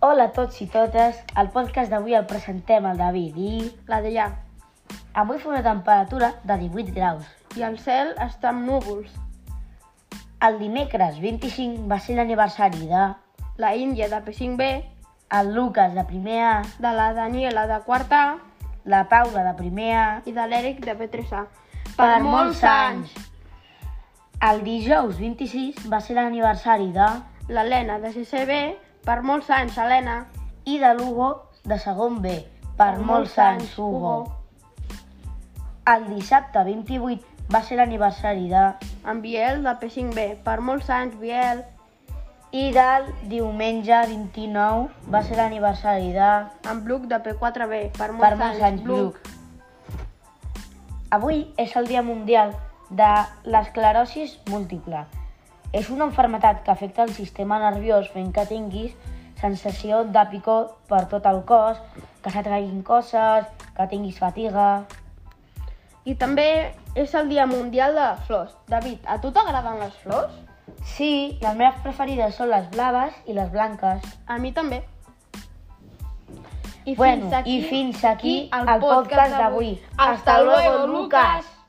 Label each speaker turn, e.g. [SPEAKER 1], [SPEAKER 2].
[SPEAKER 1] Hola a tots i totes. El podcast d'avui el presentem el David i...
[SPEAKER 2] l'Adrià,
[SPEAKER 1] Avui fa una temperatura de 18 graus.
[SPEAKER 2] i el cel està amb núvols.
[SPEAKER 1] El dimecres 25 va ser l'aniversari de...
[SPEAKER 2] La Índia de P5B,
[SPEAKER 1] El Lucas de primer A,
[SPEAKER 2] de la Daniela de quarta A
[SPEAKER 1] la Paula de primer A...
[SPEAKER 2] i de l'Eric de P3A.
[SPEAKER 1] El dijous 26 va ser l'aniversari de...
[SPEAKER 2] L'Helena de CCB, per molts anys, Helena.
[SPEAKER 1] I de l'Hugo de segon B. Per molts anys, Hugo. El dissabte 28 va ser l'aniversari de...
[SPEAKER 2] En Biel de P5B, per molts anys, Biel.
[SPEAKER 1] I del diumenge 29 va ser l'aniversari de...
[SPEAKER 2] En Bluc de P4B, per molts,
[SPEAKER 1] Per molts anys, Lluc. Avui és el Dia Mundial de l'esclerosis múltiple. És una malaltia que afecta el sistema nerviós fent que tinguis sensació de picor per tot el cos, que s'atreguin coses, que tinguis fatiga...
[SPEAKER 2] I també és el Dia Mundial de les Flors. David, a tu t'agraden les flors?
[SPEAKER 1] Sí, les meves preferides són les blaves i les blanques.
[SPEAKER 2] A mi també. I
[SPEAKER 1] Bueno, i fins aquí el podcast d'avui. Hasta luego, Lucas.